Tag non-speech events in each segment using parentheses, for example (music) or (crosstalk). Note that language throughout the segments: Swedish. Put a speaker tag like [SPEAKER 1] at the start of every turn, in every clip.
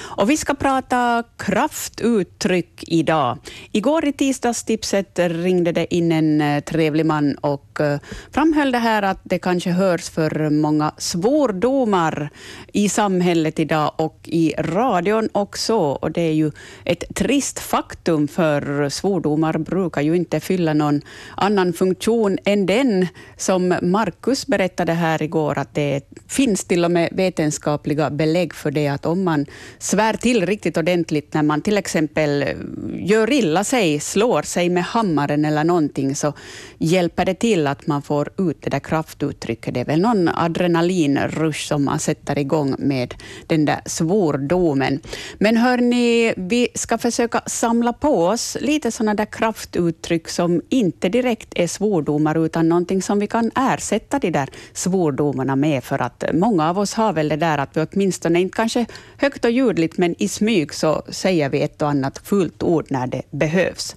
[SPEAKER 1] Och vi ska prata kraftuttryck idag. Igår i tisdagstipset ringde det in en eh, trevlig man och eh, framhöll det här att det kanske hörs för många svordomar i samhället idag och i radion också. Och det är ju ett trist faktum, för svordomar brukar ju inte fylla någon annan funktion än den som Markus berättade här igår, att det finns till och med vetenskapliga belägg för det, att om man svär till riktigt ordentligt när man till exempel gör illa sig, slår sig med hammaren eller någonting, så hjälper det till att man får ut det där kraftuttrycket. Det är väl någon adrenalinrush som man sätter igång med den där svordomen. Men hörni, vi ska försöka samla på oss lite sådana där kraftuttryck som inte direkt är svordomar, utan någonting som vi kan ersätta de där svordomarna med, för att många av oss har väl det där att vi åtminstone, inte kanske högt och ljudligt, men i smyg så säger vi ett och annat fult ord när det behövs.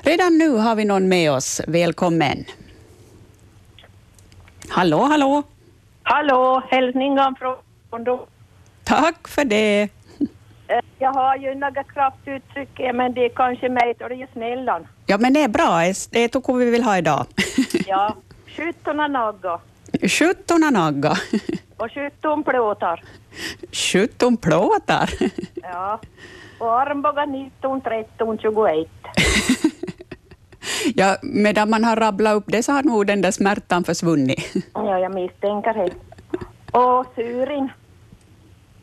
[SPEAKER 1] Redan nu har vi någon med oss. Välkommen. Hallå, hallå.
[SPEAKER 2] Hallå, hälsningar från då.
[SPEAKER 1] Tack för det.
[SPEAKER 2] Eh, Jag har ju några kraftuttryck, eh, men det är kanske mig då det är snällan.
[SPEAKER 1] Ja, men det är bra. Det är toko vi vill ha idag. (laughs)
[SPEAKER 2] Ja, sjutton något
[SPEAKER 1] Sjutton nagga.
[SPEAKER 2] och sjutton plåtar.
[SPEAKER 1] (laughs) Sjutton plåtar. (laughs)
[SPEAKER 2] Ja, och armbågar 19, 13, 21.
[SPEAKER 1] Ja, medan man har rabblat upp det så har nog den där smärtan försvunnit. (laughs)
[SPEAKER 2] Ja, jag misstänker det. Och surin,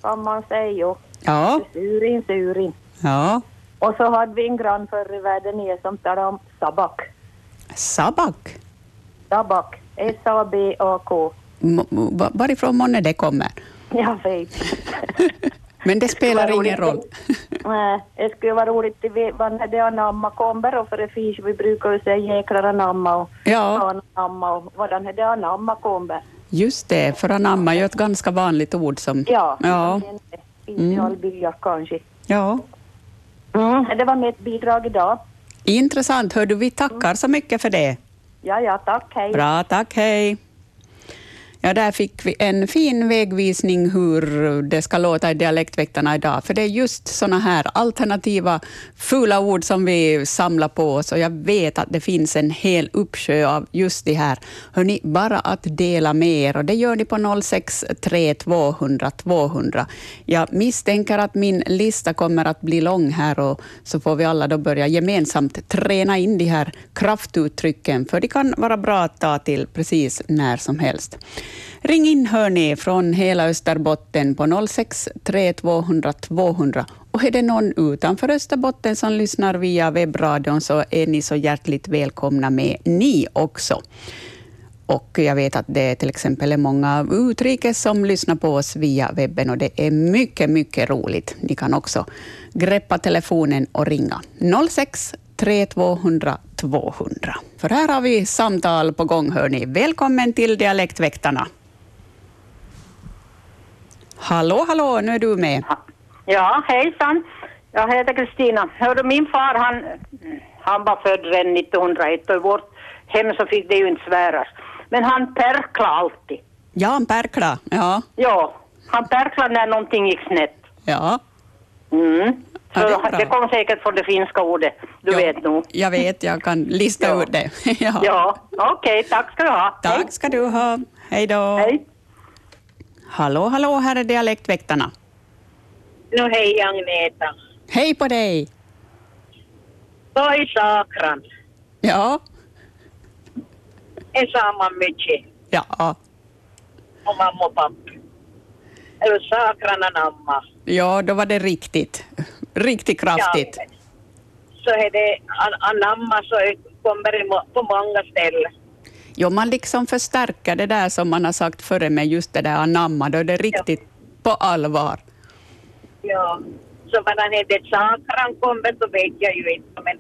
[SPEAKER 2] som man säger ju.
[SPEAKER 1] Ja,
[SPEAKER 2] Surin, surin.
[SPEAKER 1] ja.
[SPEAKER 2] Och så hade vi en grann förr i världen nere som talade om sabak.
[SPEAKER 1] Sabak.
[SPEAKER 2] Sabak, S-A-B-A-K.
[SPEAKER 1] M- va- varifrån månne det kommer?
[SPEAKER 2] Jag vet inte.
[SPEAKER 1] Men det spelar
[SPEAKER 2] Vad
[SPEAKER 1] ingen roll.
[SPEAKER 2] roligt. Nej, det skulle vara roligt att veta när det anamma kommer och för det finns, vi brukar ju säga jäklar anamma och
[SPEAKER 1] Ja,
[SPEAKER 2] anamma och vad när det anamma kommer.
[SPEAKER 1] just det, för anamma är ju ett ganska vanligt ord som...
[SPEAKER 2] Ja,
[SPEAKER 1] Mm. Ja, Mm.
[SPEAKER 2] det finns i alla byar kanske.
[SPEAKER 1] ja.
[SPEAKER 2] Mm. Det var mitt bidrag idag.
[SPEAKER 1] Intressant. Hör du, vi tackar så mycket för det.
[SPEAKER 2] Ja, ja, tack, hej.
[SPEAKER 1] Bra, tack, hej. Ja, där fick vi en fin vägvisning hur det ska låta i dialektväktarna idag, för det är just såna här alternativa fula ord som vi samlar på oss och jag vet att det finns en hel uppsjö av just det här. Hörni, bara att dela med er och det gör ni på 0632 200 200. Jag misstänker att min lista kommer att bli lång här och så får vi alla då börja gemensamt träna in de här kraftuttrycken, för de kan vara bra att ta till precis när som helst. Ring in hörni från hela Österbotten på 06 3 200 200. Och är det någon utanför Österbotten som lyssnar via webbradion så är ni så hjärtligt välkomna med ni också. Och jag vet att det till exempel är många utrikes som lyssnar på oss via webben och det är mycket, mycket roligt. Ni kan också greppa telefonen och ringa 06 3200 200. För här har vi samtal på gång, hörni. Välkommen till Dialektväktarna. Hallå, hallå, nu är du med.
[SPEAKER 3] Ja, hejsan. Jag heter Kristina. Hör du, min far han, han var född redan 1901 och i vårt hem så fick det ju inte sväras. Men han perkla alltid.
[SPEAKER 1] Jan Perkla, ja.
[SPEAKER 3] Ja, han perkla när någonting gick snett.
[SPEAKER 1] ja.
[SPEAKER 3] Mm.
[SPEAKER 1] Ja,
[SPEAKER 3] Så
[SPEAKER 1] det är bra.
[SPEAKER 3] det, kom säkert från det finska ordet. Du
[SPEAKER 1] ja,
[SPEAKER 3] vet nog.
[SPEAKER 1] Jag
[SPEAKER 3] (laughs)
[SPEAKER 1] vet, jag kan lista
[SPEAKER 3] Ja.
[SPEAKER 1] ut det. ja.
[SPEAKER 3] Ja, okej. tack ska du ha.
[SPEAKER 1] Tack ska du ha. Hej då.
[SPEAKER 3] Hej. Hej.
[SPEAKER 1] Hallå, hallå, här är Dialektväktarna.
[SPEAKER 4] No hej Agneta.
[SPEAKER 1] Hej på dig!
[SPEAKER 4] Toi saakran.
[SPEAKER 1] Ja,
[SPEAKER 4] En saama mytsi.
[SPEAKER 1] ja,
[SPEAKER 4] Oma mopappi. Eli saakranan amma.
[SPEAKER 1] ja, då var det riktigt. Riktigt kraftigt.
[SPEAKER 4] Ja. Så är det an- anamma så kommer det må- på många ställen.
[SPEAKER 1] Jo, man liksom förstärker det där som man har sagt före med just det där anamma, då är det riktigt på allvar.
[SPEAKER 4] Ja. Så vad han heter saakran kommer så vet jag ju inte men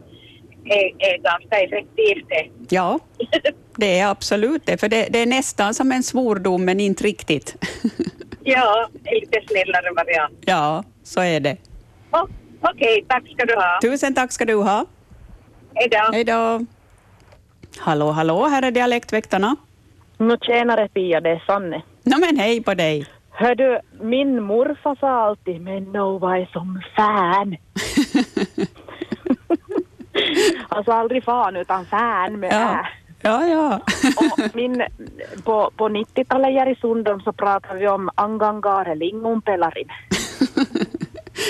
[SPEAKER 4] är, är ganska effektivt det.
[SPEAKER 1] Ja, det är absolut det, för det, det är nästan som en svordom, men inte riktigt.
[SPEAKER 4] ja, en lite snällare variant.
[SPEAKER 1] Ja, så är det.
[SPEAKER 4] Oh, Okej, tack ska du ha.
[SPEAKER 1] Tusen tack ska du ha.
[SPEAKER 4] Hej då.
[SPEAKER 1] Hej då. Hallå, hallå, här är Dialektväktarna.
[SPEAKER 5] No tjenare Pia, det är Sanne.
[SPEAKER 1] Nå men hej på dig.
[SPEAKER 2] Hör du, min morfar sa alltid, men Nova är som
[SPEAKER 1] (laughs)
[SPEAKER 2] fan. alltså aldrig fan utan fan med
[SPEAKER 1] Ja,
[SPEAKER 2] ä.
[SPEAKER 1] ja. ja.
[SPEAKER 2] Och min, på, på 90-talet här i Sundom så pratade vi om angangare lingonpelarin.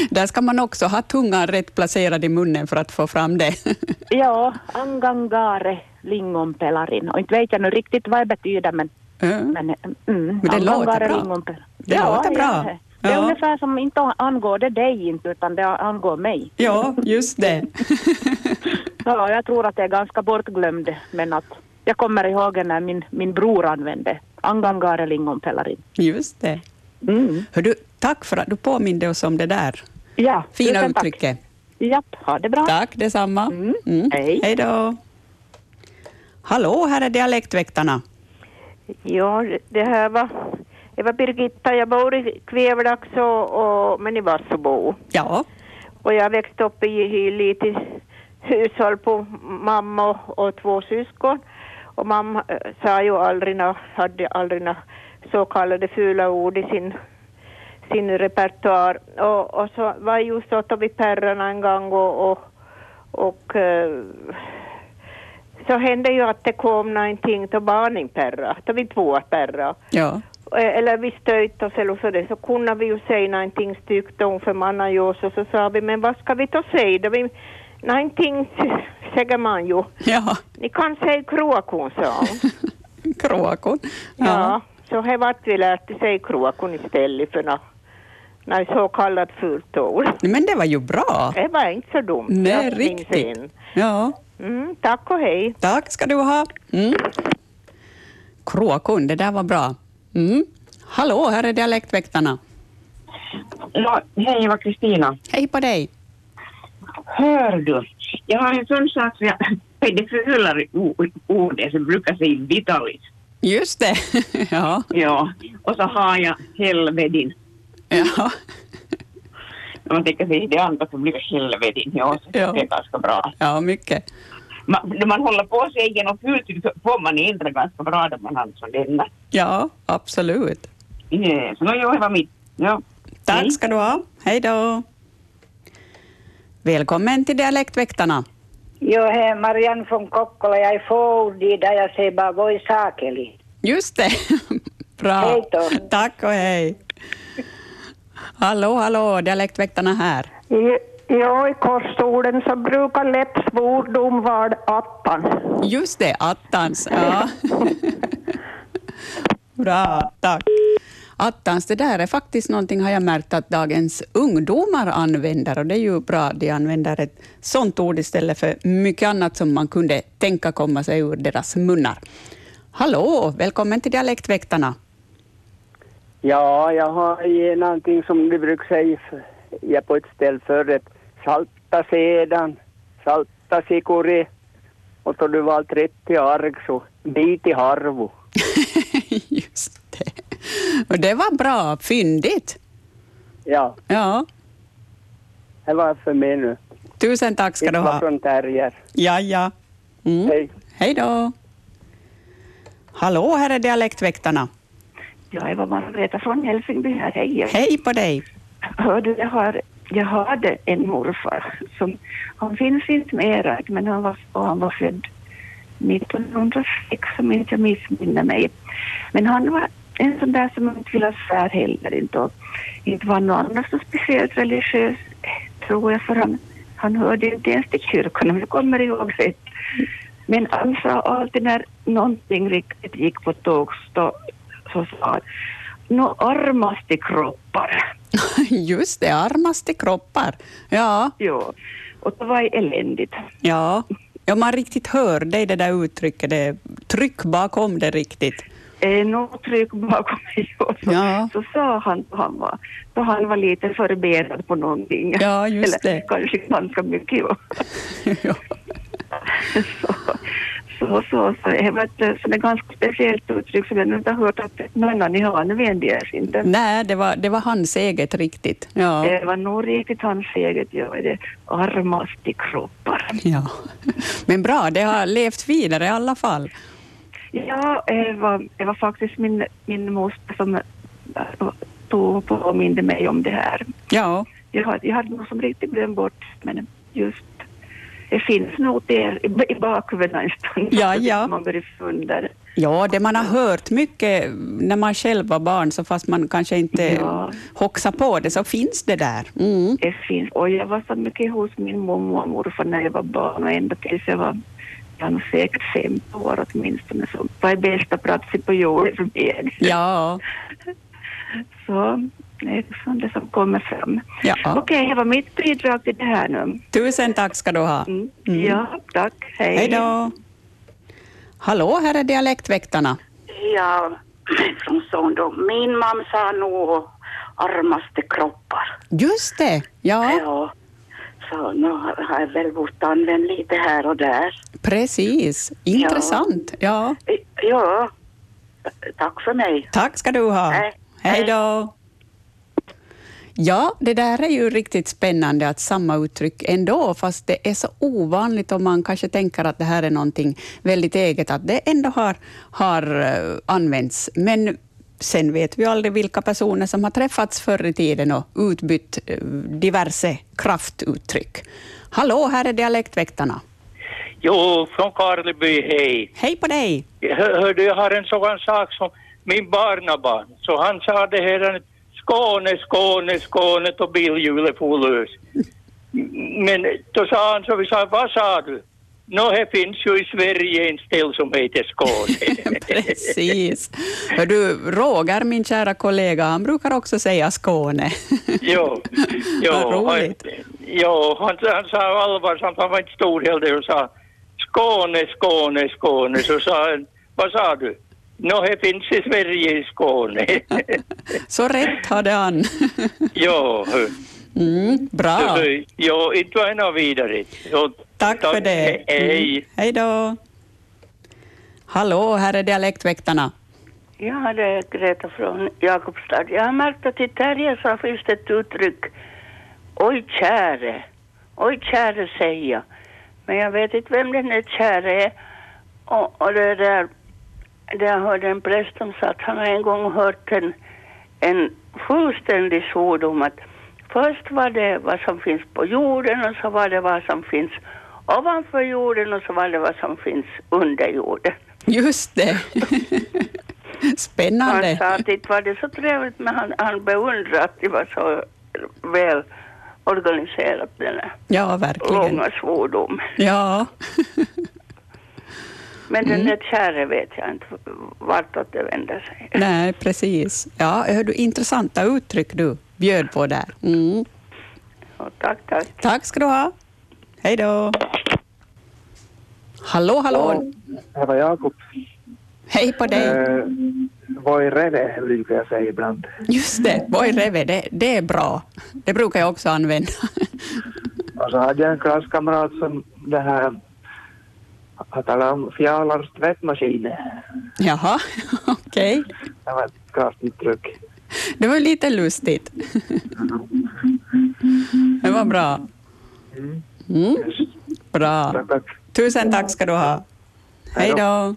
[SPEAKER 1] Där ska man också ha tungan rätt placerad i munnen för att få fram det. (laughs)
[SPEAKER 2] Ja, angangare lingonpelarin. Och inte vet jag nu riktigt vad det betyder men,
[SPEAKER 1] Mm.
[SPEAKER 2] men, mm,
[SPEAKER 1] Men det låter
[SPEAKER 2] angangare
[SPEAKER 1] bra.
[SPEAKER 2] lingonpelarin.
[SPEAKER 1] Det låter bra.
[SPEAKER 2] Ja. Det är
[SPEAKER 1] Ja.
[SPEAKER 2] ungefär som inte angår det dig inte utan det angår mig.
[SPEAKER 1] Ja, just det.
[SPEAKER 2] Ja, jag tror att det är ganska bortglömd, men att jag kommer ihåg när min, min bror använde angangare lingonpelarin.
[SPEAKER 1] Just det.
[SPEAKER 2] Mm.
[SPEAKER 1] Hör du, tack för att du påminde oss om det där
[SPEAKER 2] Ja,
[SPEAKER 1] fina
[SPEAKER 2] tusen tack.
[SPEAKER 1] uttrycket.
[SPEAKER 2] Japp, ha det bra.
[SPEAKER 1] Tack detsamma.
[SPEAKER 2] Mm. Hej.
[SPEAKER 1] Hej då. Hallå, här är Dialektväktarna.
[SPEAKER 6] Ja, det här var, det var Birgitta. Jag bor i Kvävlax och, och, men i Vassobo.
[SPEAKER 1] Ja,
[SPEAKER 6] Och jag växte upp i ett litet hushåll på mamma och, och två syskon. Och mamma eh, sa ju aldrig nå, hade aldrig nå så kallade fula ord i sin, sin repertoar. Och, och så var jag just åt vid Pärrarna en gång och, och, och eh, så hände ju att det kom någonting till barnen Perra, till vi två Perra.
[SPEAKER 1] ja,
[SPEAKER 6] Eh, eller vi stöjt oss eller så, det, så kunde vi ju säga någonting styggt om för mannen ju och så, så sa vi men vad ska vi då säga? Då vi, någonting säger man ju.
[SPEAKER 1] ja.
[SPEAKER 6] Ni kan säga kråkon sa
[SPEAKER 1] (laughs)
[SPEAKER 6] hon.
[SPEAKER 1] Kråkon.
[SPEAKER 6] Ja. Så här vart vi lärt sig kråkon istället för nå, nå så kallat fult ord.
[SPEAKER 1] Men det var ju bra.
[SPEAKER 6] Det var inte så dumt.
[SPEAKER 1] Nej,
[SPEAKER 6] Jag minns en.
[SPEAKER 1] riktigt. Ja,
[SPEAKER 6] Mm, tack och hej.
[SPEAKER 1] tack ska du ha. Mm. Kråkon, det där var bra. Mm. Hallå, här är Dialektväktarna.
[SPEAKER 7] Nå, hej, det var Kristina.
[SPEAKER 1] Hej på dig.
[SPEAKER 7] Hör du, jag har en sån sak som jag... Det fulare o- ordet som brukar säga vitalis.
[SPEAKER 1] Just det. (laughs) ja.
[SPEAKER 7] Ja, och så har jag helvedin. No,
[SPEAKER 1] ja.
[SPEAKER 7] När man tänker sig det andra så blir det helvedin. Ja, så
[SPEAKER 1] Ja.
[SPEAKER 7] det är ganska bra.
[SPEAKER 1] Ja, mycket.
[SPEAKER 7] Man, när man håller på att säga något fult så får man ändra ganska bra när man har en sån denna.
[SPEAKER 1] (laughs) Ja, absolut.
[SPEAKER 7] Yes. Nå, jo, det var mitt. Ja.
[SPEAKER 1] Tack
[SPEAKER 7] Hej.
[SPEAKER 1] ska du ha. Hej då. Välkommen till Dialektväktarna.
[SPEAKER 3] Jo, hej, Marianne från Kokkola. Jag är fåordig där jag säger bara voi saakeli.
[SPEAKER 1] Just det. (laughs) Bra.
[SPEAKER 3] Hej då.
[SPEAKER 1] Tack och hej. Hallå, hallå, Dialektväktarna här.
[SPEAKER 8] I, ja, i korsorden så brukar lätt svordom vara attan.
[SPEAKER 1] Just det, attans. Ja. (laughs) Bra, tack. Attans, det där är faktiskt någonting har jag märkt att dagens ungdomar använder och det är ju bra att de använder ett sånt ord istället för mycket annat som man kunde tänka komma sig ur deras munnar. Hallå, välkommen till Dialektväktarna.
[SPEAKER 9] Ja, jag har ju någonting som vi brukar säga f- ja, på ett ställe förr. att Salta sedan, salta sikori. Och då du var 30 arg så bit i harvo.
[SPEAKER 1] Just det. Och det var bra, fyndigt.
[SPEAKER 9] Ja,
[SPEAKER 1] Ja,
[SPEAKER 9] det var för mig nu.
[SPEAKER 1] tusen tack ska du
[SPEAKER 9] Det var
[SPEAKER 1] ha.
[SPEAKER 9] från Terrier.
[SPEAKER 1] Ja, ja. Mm.
[SPEAKER 9] Hej.
[SPEAKER 1] Hej då. Hallå, här är Dialektväktarna.
[SPEAKER 8] Ja, jag var Margareta från Helsingby här. Hej.
[SPEAKER 1] Hej på dig.
[SPEAKER 8] Hör du, jag, har, jag hade en morfar som, han finns inte mera, men han var, och han var född 1906 om inte jag missminner mig. Men han var en sån där som inte ville svär heller inte och inte var någon annan så speciellt religiös tror jag för han, han hörde inte ens till kyrkan om jag kommer ihåg rätt. Men han sa alltid när någonting riktigt gick på tåg så, så sa han Nå armas till kroppar.
[SPEAKER 1] (laughs) Just det, armaste kroppar. Ja,
[SPEAKER 8] Ja, och det var eländigt.
[SPEAKER 1] ja. Ja, man riktigt hör dig det där uttrycket. Det är tryck bakom det riktigt.
[SPEAKER 8] Eh, Något tryck bakom mig och så,
[SPEAKER 1] Ja.
[SPEAKER 8] så sa han att han var, så han var lite förberedd på någonting.
[SPEAKER 1] Ja, just
[SPEAKER 8] Eller
[SPEAKER 1] det.
[SPEAKER 8] kanske ganska mycket. Ja.
[SPEAKER 1] (laughs) Ja.
[SPEAKER 8] så, så, så, så, det var ett så det är ganska speciellt uttryck som jag nu inte har hört att någon annan i Haneveen görs inte.
[SPEAKER 1] Nej, det var, det var hans eget riktigt. Ja.
[SPEAKER 8] Det var nog riktigt hans eget, ja, det armaste kroppar.
[SPEAKER 1] ja. Men bra, det har levt vidare i alla fall.
[SPEAKER 8] Ja, det var, det var faktiskt min, min moster som eh, stod och påminde mig om det här.
[SPEAKER 1] Ja.
[SPEAKER 8] Jag, har- jag hade nog som riktigt glömt bort, men just det finns nog där i- i bakhuvudet någonstans.
[SPEAKER 1] Ja, ja.
[SPEAKER 8] Man börjar fundera.
[SPEAKER 1] Ja, det man har hört mycket när man själv var barn, så fast man kanske inte
[SPEAKER 8] Ja.
[SPEAKER 1] hoxar på det, så finns det där. Mm.
[SPEAKER 8] Det finns. Och jag var så mycket hos min mormor och morfar när jag var barn och ända tills jag var jag var nog säkert 15 år åtminstone. Så det är bästa platsen på jorden för mig.
[SPEAKER 1] Ja.
[SPEAKER 8] Så det är liksom det som kommer fram.
[SPEAKER 1] ja.
[SPEAKER 8] Okej, det var mitt bidrag till det här nu.
[SPEAKER 1] Tusen tack ska du ha. Mm.
[SPEAKER 8] Ja, tack. Hej.
[SPEAKER 1] Hej då. Hallå, här är Dialektväktarna.
[SPEAKER 10] Ja, (clears throat) från sån då. Min mamma sa nog armaste kroppar.
[SPEAKER 1] Just det, ja,
[SPEAKER 10] Så nu har jag väl bort använd lite här och där.
[SPEAKER 1] precis. Intressant. Ja.
[SPEAKER 10] Ja, tack för mig.
[SPEAKER 1] Tack ska du ha.
[SPEAKER 10] Hej.
[SPEAKER 1] Hej då. Ja, det där är ju riktigt spännande att samma uttryck ändå, fast det är så ovanligt om man kanske tänker att det här är någonting väldigt eget, att det ändå har, har eh, använts. Men sen vet vi aldrig vilka personer som har träffats förr i tiden och utbytt eh, diverse kraftuttryck. Hallå, här är Dialektväktarna.
[SPEAKER 11] Jo, från Karleby, hej.
[SPEAKER 1] Hej på dig!
[SPEAKER 11] Hör, hörde, jag har en sådan sak som min barnabarn, så han sa det här Skåne, Skåne, Skåne och bilhjulet for lös. Men då sa han så vi sa, vad sa du? Nå, det finns ju i Sverige en ställ som heter Skåne.
[SPEAKER 1] Precis. Hör Du, Roger, min kära kollega, han brukar också säga Skåne. (laughs)
[SPEAKER 11] (laughs) jo, jo,
[SPEAKER 1] Vad
[SPEAKER 11] han,
[SPEAKER 1] roligt.
[SPEAKER 11] jo han, han sa allvarsamt, han var inte storheldig och sa Skåne, Skåne, Skåne. Så sa han, vad sa du? Nå, det finns i Sverige i (laughs) Skåne.
[SPEAKER 1] Så rätt hade han.
[SPEAKER 11] Ja, hör.
[SPEAKER 1] Mm, bra.
[SPEAKER 11] Så, så, Ja, inte var något vidare. Ja,
[SPEAKER 1] Tack för det. Mm.
[SPEAKER 11] he- Hej.
[SPEAKER 1] Hej då. Hallå, här är Dialektväktarna.
[SPEAKER 12] Ja, det är eh, Greta från Jakobstad. Jag har märkt att i Terje så finns det ett uttryck. Oj käre. Oj käre säger jag. Men jag vet inte vem den där käre är. Och, och det där, där jag hörde en präst som sa att han har en gång hört en, en fullständig svordom att först var det vad som finns på jorden och så var det vad som finns ovanför jorden och så var det vad som finns under jorden.
[SPEAKER 1] Just det.
[SPEAKER 12] Han sa
[SPEAKER 1] Spännande.
[SPEAKER 12] att det var det så trevligt, men han, han beundrade att det var så väl organiserat, den här
[SPEAKER 1] Ja, verkligen.
[SPEAKER 12] långa svordomen.
[SPEAKER 1] Ja,
[SPEAKER 12] Men den där käre vet jag inte vartåt det vänder sig.
[SPEAKER 1] nej, precis. Ja, hör du, intressanta uttryck du bjöd på där. Mm.
[SPEAKER 12] Tack, tack.
[SPEAKER 1] Tack ska du ha. Hej då. Hallå, hallå.
[SPEAKER 9] Det var Jakob.
[SPEAKER 1] Hej på dig.
[SPEAKER 9] Eh, vad är rädd brukar jag säga ibland.
[SPEAKER 1] Just det, voi reve, det, det är bra. Det brukar jag också använda.
[SPEAKER 9] Och så hade jag en klasskamrat som det här han talade om fjalars tvättmaskin.
[SPEAKER 1] Jaha, okej.
[SPEAKER 9] Det var ett kraftigt tryck.
[SPEAKER 1] Det var ju lite lustigt. Det var bra. Mm. Bra. Tusen tack ska du ha. Hej då.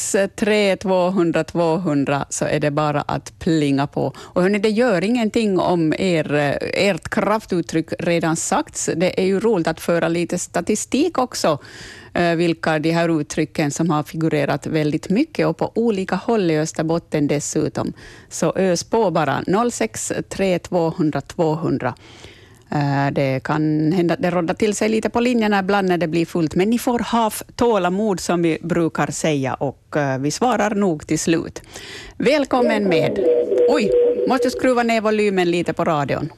[SPEAKER 1] 063 200 200 så är det bara att plinga på. Och hörni, det gör ingenting om er, eh, ert kraftuttryck redan sagts. Det är ju roligt att föra lite statistik också, eh, vilka de här uttrycken som har figurerat väldigt mycket och på olika håll i Österbotten dessutom. Så ös på bara. 063 200 200. Eh, Det kan hända att det roddar till sig lite på linjerna ibland när det blir fullt, men ni får ha f- tålamod som vi brukar säga och eh, vi svarar nog till slut. Välkommen med. Oj, måste skruva ner volymen lite på radion.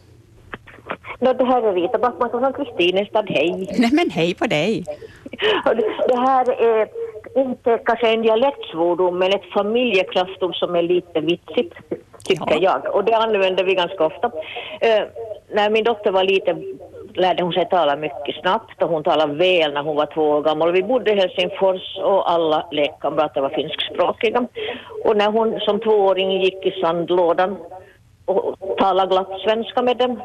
[SPEAKER 4] Nå, det här är Rita Backman från Kristinestad, hej.
[SPEAKER 1] Nej men hej på dig.
[SPEAKER 4] (laughs) Och det- Det här är inte kanske en dialektsvordom, men ett familjeklassrum som är lite vitsigt, tycker jag. Och det använder vi ganska ofta. Eh, när min dotter var liten lärde hon sig tala mycket snabbt och hon talade väl när hon var två år gammal. Vi bodde i Helsingfors och alla lekkamrater var finskspråkiga. Och när hon som tvååring gick i sandlådan och talade glatt svenska med dem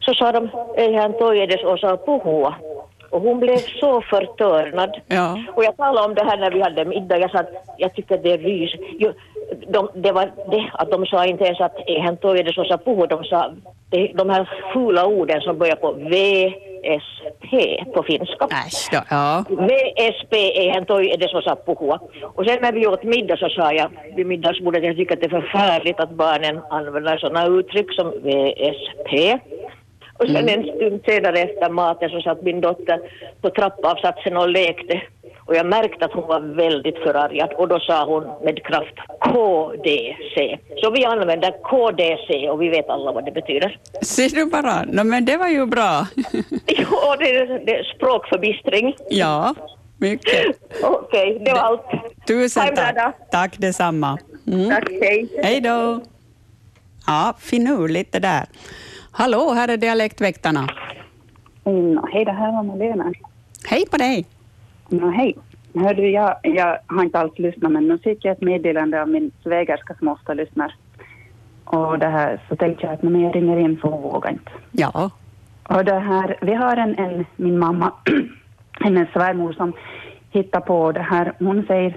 [SPEAKER 4] så sa de, ei hän toi edes osaa puhua. Och hon blev så förtörnad.
[SPEAKER 1] Ja.
[SPEAKER 4] Och jag talade om det här när vi hade middag. Jag sa att jag tycker det är rys. Jo, de, det var det att de sa inte ens att hän tog det så på, de sa de, de här fula orden som börjar på VSP på finska.
[SPEAKER 1] Äsch då, ja.
[SPEAKER 4] VSP är hän tog det så puhua. Och sen när vi åt middag så sa jag vid middagsbordet, jag tycker att det är förfärligt att barnen använder sådana uttryck som VSP. Och sen en stund senare efter maten så satt min dotter på trappavsatsen och lekte. Och jag märkte att hon var väldigt förargad och då sa hon med kraft KDC. Så vi använder KDC och vi vet alla vad det (laughs) betyder.
[SPEAKER 1] Ser du bara? No, men det var ju bra. (laughs)
[SPEAKER 4] Jo, det är, det är språkförbistring.
[SPEAKER 1] Ja, mycket.
[SPEAKER 4] Okej, det var allt. Ha
[SPEAKER 1] Tusen
[SPEAKER 4] en bra dag.
[SPEAKER 1] tack. Tack detsamma. Mm.
[SPEAKER 4] Tack, hej.
[SPEAKER 1] Hej då. Ja, finurligt det där. Hallå, här är Dialektväktarna.
[SPEAKER 13] Mm, hej, det här var Malena.
[SPEAKER 1] Hej på dig!
[SPEAKER 13] No, hej. Hör du, jag, jag har inte alls lyssnat, men nu fick jag ett meddelande av min svägerska som ofta lyssnar. Och det här, så tänkte jag att men jag ringer in för hon vågar inte.
[SPEAKER 1] Ja.
[SPEAKER 13] Och det här, vi har en, en min mamma, (clears throat) hennes svärmor som hittar på det här. Hon säger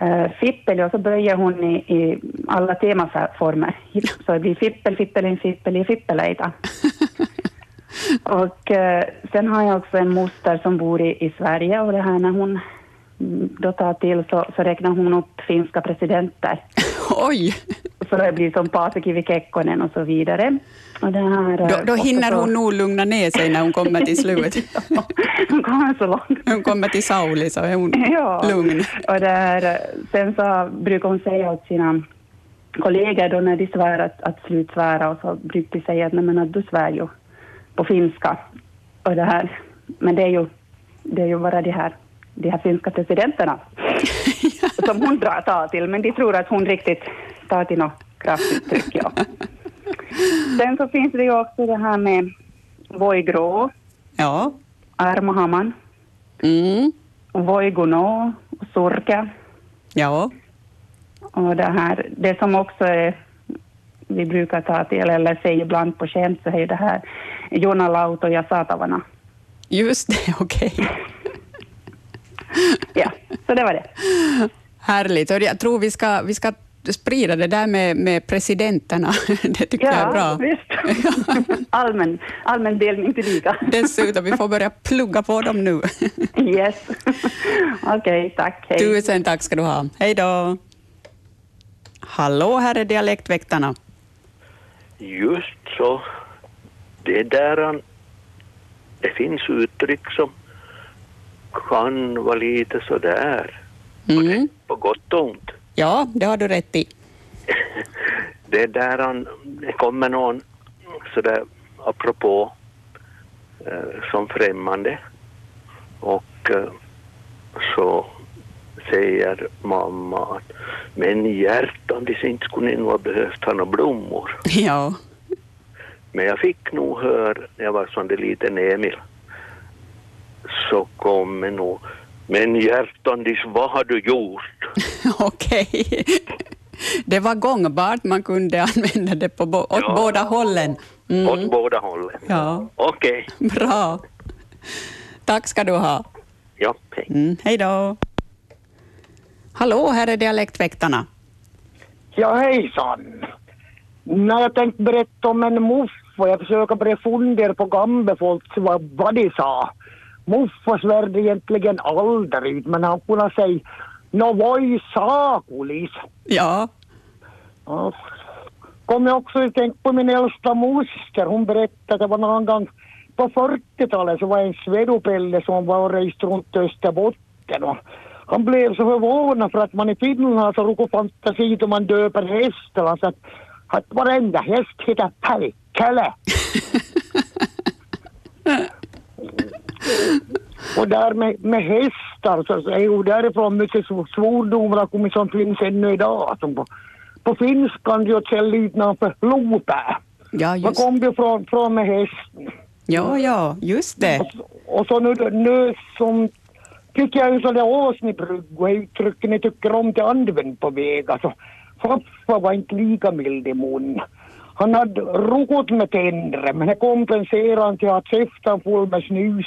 [SPEAKER 13] eh, fippel och så böjer hon i, i alla temaformer. (laughs) Hipp- Så det blir fippel, fippelin,
[SPEAKER 1] (laughs)
[SPEAKER 13] fippeli, fippeleita. och eh, sen har jag också en moster som bor i, i Sverige och det här när hon mm, då tar till så, så räknar hon upp finska presidenter.
[SPEAKER 1] (laughs) Oj!
[SPEAKER 13] Så det blir som Paasikivi Kekkonen och så vidare. Och det här, eh,
[SPEAKER 1] Då, då
[SPEAKER 13] och
[SPEAKER 1] hinner
[SPEAKER 13] så-
[SPEAKER 1] hon nog lugna ner sig när hon kommer till
[SPEAKER 13] (laughs)
[SPEAKER 1] slutet.
[SPEAKER 13] hon kommer så långt.
[SPEAKER 1] Hon kommer till Sauli så är hon
[SPEAKER 13] (laughs) Ja.
[SPEAKER 1] lugn.
[SPEAKER 13] Och där, sen så brukar hon säga åt sina kollegor då när de svär att, att slutsvära och så brukar de säga att, nej, men att du svär ju på finska. Och det här. Men det är ju, det är ju bara
[SPEAKER 8] (laughs)
[SPEAKER 13] de här, de här finska presidenterna som hon drar tar till, men de tror att hon riktigt tar till något kraftigt tryck. Ja. Sen så finns det ju också det här med Voi grå,
[SPEAKER 1] Ja.
[SPEAKER 13] Armahamman,
[SPEAKER 1] Mm.
[SPEAKER 13] Voi gunå och Surka.
[SPEAKER 1] Ja.
[SPEAKER 13] Och det här, det som också är, vi brukar ta till eller säga ibland på skämt så är ju det här Jonalauto ja saatavana.
[SPEAKER 1] Just det, (laughs) okej.
[SPEAKER 13] ja, så det var det.
[SPEAKER 1] Härligt. Och jag tror vi ska, vi ska sprida det där med, med presidenterna. (laughs) Det tycker jag är bra.
[SPEAKER 13] (laughs) visst. allmän, allmän delning till lika.
[SPEAKER 1] Dessutom, vi får börja plugga på dem nu.
[SPEAKER 13] Yes. (laughs) Okej, tack. Hej.
[SPEAKER 1] Tusen tack ska du ha. Hej då. Hallå, här är Dialektväktarna.
[SPEAKER 14] Just så. Det där, det finns uttryck som kan vara lite sådär,
[SPEAKER 1] Mm.
[SPEAKER 14] på gott och ont. (laughs)
[SPEAKER 1] Ja, det har du rätt i.
[SPEAKER 14] Det där, det kommer någon sådär apropå eh, som främmande och eh, så säger mamma att men hjärtan, det inte skulle ni nog ha behövt ha några blommor.
[SPEAKER 1] (laughs) Ja.
[SPEAKER 14] Men jag fick nog höra, när jag var sån där liten Emil, så kommer nog men hjärtan, dis, vad har du gjort?
[SPEAKER 1] Okej. Det var gångbart, man kunde använda det på bo- åt
[SPEAKER 14] Ja.
[SPEAKER 1] båda hållen. Mm.
[SPEAKER 14] Åt båda hållen.
[SPEAKER 1] Ja,
[SPEAKER 14] Okej,
[SPEAKER 1] bra. Tack ska du ha.
[SPEAKER 14] ja.
[SPEAKER 1] Mm, hej då. Hallå, här är Dialektväktarna.
[SPEAKER 15] Ja, hejsan. När jag tänkte berätta om en muffa, jag försöker bli fundera på gambefolk vad, vad de sa. Muffa svärde egentligen aldrig ut, men han kunde säga ”Nå voi saakulis”.
[SPEAKER 1] Ja.
[SPEAKER 15] Ja. Kom jag också att tänka på min äldsta moster. Hon berättade att det var någon gång på 40-talet så var det en svedopelle som var och reste runt Österbotten. Och han blev så förvånad för att man i Finland har så roko fantasi då man döper hästen. Han sa att, att varenda häst heter Pärkele. Och där med, med hästar så så är ju därifrån mycket sv- svordomar har kommit som finns ännu idag. Som på, på finskan gör källorna för lopä.
[SPEAKER 1] Ja,
[SPEAKER 15] Var
[SPEAKER 1] just,
[SPEAKER 15] kom du från, från med hästen?
[SPEAKER 1] ja, ja, just det.
[SPEAKER 15] Och så nu, nu som tycker jag ju så det åsnebrygg och uttrycken jag tycker om det använd på vägar så farfar var inte lika mild i mun. Han hade rot med tänder men det kompenserade han till att käften full med snus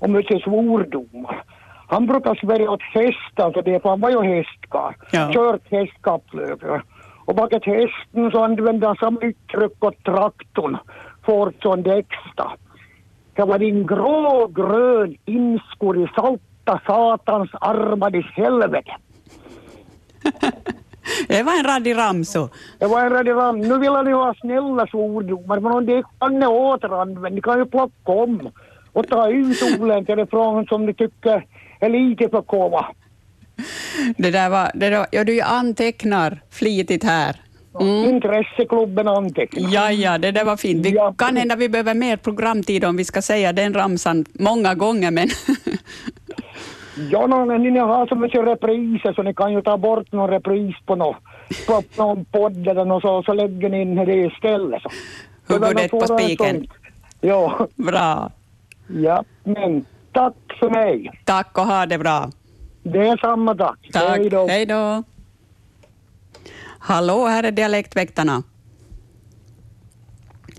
[SPEAKER 15] och mycket svordomar. Han brukar svära åt hästar, så det, för han var ju hästkar.
[SPEAKER 16] Ja.
[SPEAKER 15] Kört hästkapplöpare. Och bakat hästen så använde han samma uttryck åt traktorn, Fordson Dexta. Det var din grågrön inskur i salta satans armar i helvete.
[SPEAKER 1] (laughs) Det var en radig ramso.
[SPEAKER 15] Det var en radiogram. Nu vill ni ha snälla svordomar, men om det kan ni återanvända. Ni kan ju plocka om och ta ut olämpliga från som ni tycker är lite för kova.
[SPEAKER 1] Det där var, det där, ja, du antecknar flitigt här. Mm.
[SPEAKER 15] Intresseklubben antecknar.
[SPEAKER 1] Ja, ja, det där var fint. Vi, Kan hända vi behöver mer programtid om vi ska säga den ramsan många gånger, men (laughs)
[SPEAKER 15] Ja, no, men ni har så mycket repriser så ni kan ju ta bort någon repris på något, på någon podd eller något så, så lägger ni in det istället. Så.
[SPEAKER 1] huvudet på
[SPEAKER 15] Det var nog
[SPEAKER 1] spiken.
[SPEAKER 15] sånt. Ja.
[SPEAKER 1] Bra.
[SPEAKER 15] Ja, men tack för mig.
[SPEAKER 1] Tack och ha det bra.
[SPEAKER 15] Det är samma tack.
[SPEAKER 1] Tack.
[SPEAKER 15] Hej då.
[SPEAKER 1] Hej då. Hallå, här är Dialektväktarna.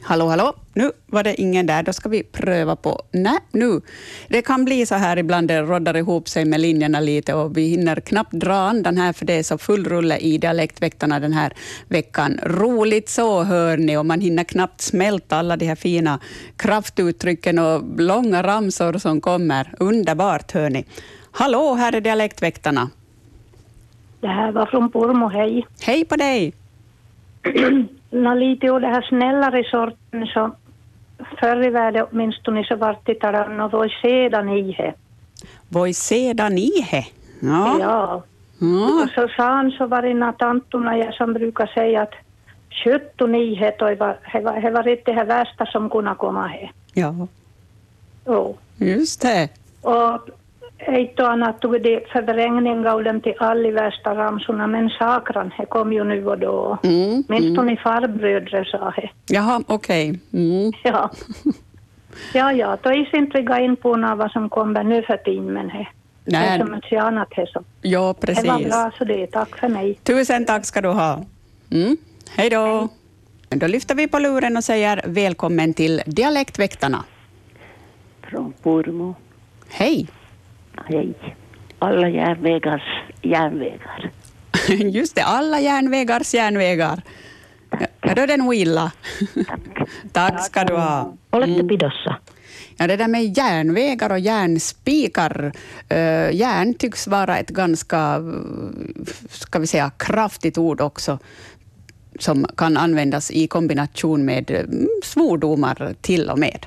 [SPEAKER 1] Hallå, hallå. Nu var det ingen där. Då ska vi pröva på... Nej, nu. Det kan bli så här ibland, det roddar ihop sig med linjerna lite och vi hinner knappt dra andan här, för det är så full rulle i Dialektväktarna den här veckan. Roligt så, hör ni, och man hinner knappt smälta alla de här fina kraftuttrycken och långa ramsor som kommer. Underbart, hör ni. Hallå, här är Dialektväktarna.
[SPEAKER 17] Det här var från Pormo, hej.
[SPEAKER 1] Hej
[SPEAKER 2] (clears throat)
[SPEAKER 1] på dig!
[SPEAKER 17] Nå, lite av det här snällare sorten så förr i världen åtminstone så vart det talan och voi sedan i he.
[SPEAKER 1] Voi sedan ihe. Ja.
[SPEAKER 17] ja.
[SPEAKER 1] Ja.
[SPEAKER 17] Och så sa han så var det en av tantorna jag som brukar säga att 17 i he, toi var, he, var, he var inte det här värsta som kunde komma he.
[SPEAKER 1] ja,
[SPEAKER 17] Jo.
[SPEAKER 1] just det.
[SPEAKER 17] Och ett och annat tog det förvrängning av dem till alla värsta ramsorna, men sakran he kom ju nu och då.
[SPEAKER 1] Mm,
[SPEAKER 17] Åtminstone farbröder sa he.
[SPEAKER 1] Jaha, okej. Mm. (laughs)
[SPEAKER 17] Ja. Ja, ja, då är inte vi gå in på något vad som kommer nu för tiden, men he.
[SPEAKER 1] Nej.
[SPEAKER 17] det är så mycket annat här som.
[SPEAKER 1] Ja,
[SPEAKER 17] Det var
[SPEAKER 1] precis.
[SPEAKER 17] bra så det, tack för mig.
[SPEAKER 1] Tusen tack ska du ha. Mm. Hej då. Då lyfter vi på luren och säger välkommen till Dialektväktarna.
[SPEAKER 18] från Purmo.
[SPEAKER 1] Hej.
[SPEAKER 18] Hej. Alla järnvägars järnvägar.
[SPEAKER 1] (laughs) Just det, alla järnvägars järnvägar. Ja, då är det nog illa. (laughs) Tack ska du ha. Mm.
[SPEAKER 19] Olette pidossa.
[SPEAKER 1] Ja, det där med järnvägar och järnspikar. eh, järn tycks vara ett ganska, eh, ska vi säga, kraftigt ord också som kan användas i kombination med mm, svordomar till och med.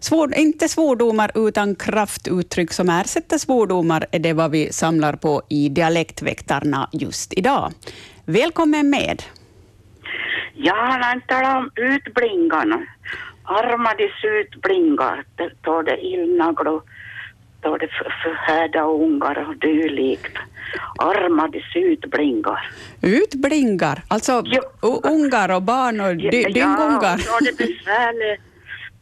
[SPEAKER 1] Svår, inte svordomar utan kraftuttryck som ersätter svordomar är det vad vi samlar på i Dialektväktarna just idag. Välkommen med!
[SPEAKER 10] Jag har inte talat om utblingarna. Armades utblingar, då det illnaglor, då det för- förhärda ungar och dylikt. Armades utblingar.
[SPEAKER 1] Utblingar, alltså u- ungar och barn och dy, dyngungar.
[SPEAKER 10] Ja, då det besvärligt